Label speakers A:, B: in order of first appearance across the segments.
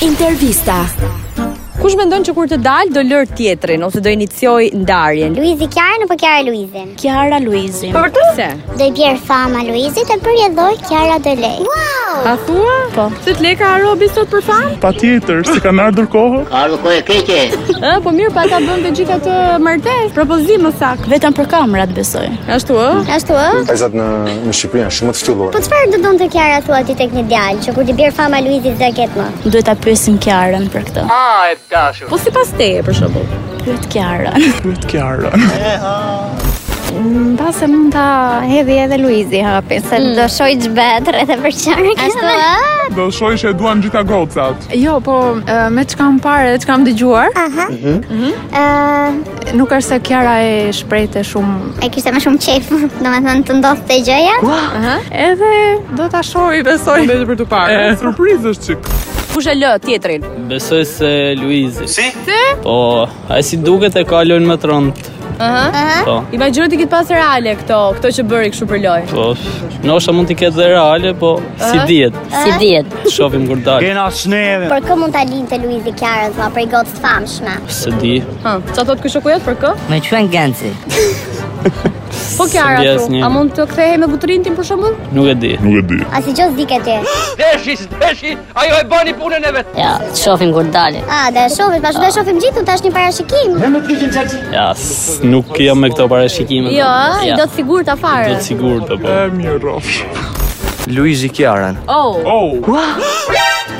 A: Intervista.
B: Kush mendon që kur të dalë do lër tjetrin ose do inicioj ndarjen?
C: Luizi Kjarën apo Kjara Luizin?
D: Kiara Luizi.
B: Po vërtet se?
C: Do i bjerë fama Luizit e për jedhoj Kjara do lej. Wow!
B: A thua? Po. Se të leka Robi sot për fan?
E: Pa tjetër, se kanë ardhur kohë.
F: Ardhë kohë e keqe.
B: Ë, po mirë, pa ta bën të gjitha të martesë, propozim më saktë.
D: Vetëm për kamrat besoj.
B: Ashtu ë?
C: Ashtu ë?
G: Vajzat në në Shqipëri janë shumë
C: Po
G: të ftyllura.
C: çfarë do donte Kjara thua ti tek një djalë që kur ti bjerë fama Luizit do e ketë më?
D: Duhet ta pyesim Kiarën për këtë.
F: A, e dashur.
B: Po sipas teje për shembull.
D: Pyet Kiarën.
E: Pyet Kiara.
H: Mba se mund ta hedhi edhe Luizi hapin, se do shoj gjbet rreth e për qarë
C: Hmm. Ashtu ë?
E: Do shoj që e duan gjitha gocat.
I: Jo, po e, me që kam parë dhe që kam dëgjuar,
C: Ë,
I: nuk është se Kiara e shprejte shumë.
C: e kishte më shumë qejf, domethënë të ndodhte të gjëja.
I: Edhe do ta
B: Po,
I: shohi, besoj.
B: Vetë për të parë.
E: Surprizë është çik.
B: Kush e lë tjetrin?
J: Besoj se Luizi. Si? Po, a si duket e ka lojnë më të rëndë. Po,
B: Imagjino ti këtë pas reale këto, këto që bëri kështu për lojë.
J: po, nosha mund t'i ketë dhe reale, po, si dihet.
D: Si dihet?
J: Shofim kur dalë,
E: Kena sneve.
C: Për kë mund ta linte Luizi Kjarën thua për i gocë të famshme?
J: se di.
B: Ha, çfarë thot ky shoku jot për kë?
D: Me quen Genci.
B: Po
J: se
B: Kiara
J: di
B: thu.
J: asnjë.
B: A mund të kthehej me buturin tim për shembull?
J: Nuk e di.
E: Nuk e di.
C: A si gjos dike ti?
F: Deshi, deshi, ajo e bani punën e vetë.
D: Ja, shohim kur dalë.
C: A, do e shohim, bashkë do e shohim gjithë, tash një parashikim.
J: Ja, s- nuk jam me këto parashikime.
B: Jo, ë, i
J: Ja,
B: do të sigurt ta
J: do
B: fare.
J: të po. sigurt apo.
E: E mirë rrofsh.
G: Luizi Kiaran.
B: Oh,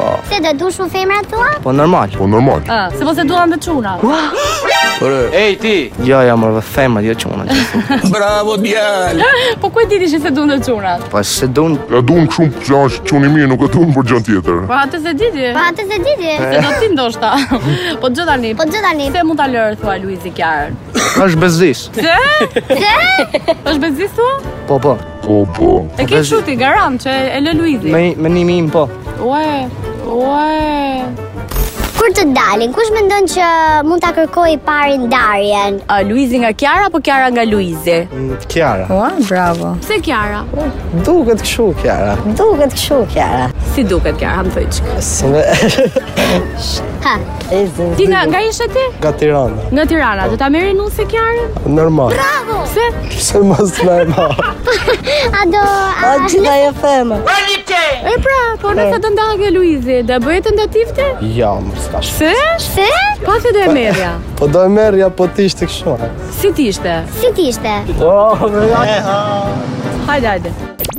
E: Oh,
C: Se do dush u femrat thua?
G: Po normal. Po normal.
B: ë, ah, se mos e duan të çuna.
F: Ej, ti.
G: Ja, ja, më dhe femra jo çuna.
B: Po ku e diti që se duan të çunat?
G: Po se dun
E: e duam shumë plash çuni mirë, nuk e duam për gjë tjetër.
B: Po atë se diti.
C: Po atë se diti.
B: Se do ti ndoshta. po gjë tani.
C: Po gjë tani.
B: Se mund ta lërë thua Luizi Kiarën.
G: është bezdis.
B: Se? Se? Është bezis thua?
G: Po, po.
E: Po, po.
B: E ke
G: Bezis.
B: shuti garant që e lë Luizi.
G: Me menimi im po.
B: Ue, ue.
C: Kur të dalin, kush mendon që mund ta kërkoj parin ndarjen?
B: A Luizi nga Kiara apo Kiara nga Luizi?
G: Kiara.
H: Ua, bravo.
B: Pse Kiara?
G: Duket kështu Kiara.
H: Duket kështu Kjara.
B: Si duket Kiara, më thoj çik.
G: Si me
C: Ha,
B: Ti nga nga ishe ti?
G: nga Tirana.
B: Nga Tirana, do ta merrin unë se Kiarën?
G: Normal.
B: Pse?
G: Pse mos normal.
C: a do a,
B: E pra, po nëse do ndahet nga Luizi, do e bëhet tentativë ti?
G: Ja, mos tash.
B: Se?
C: se
B: Pa se do e merrja.
G: Po do e merrja po ti ishte kështu.
B: Si ti ishte?
C: si ti ishte?
B: Hajde, hajde.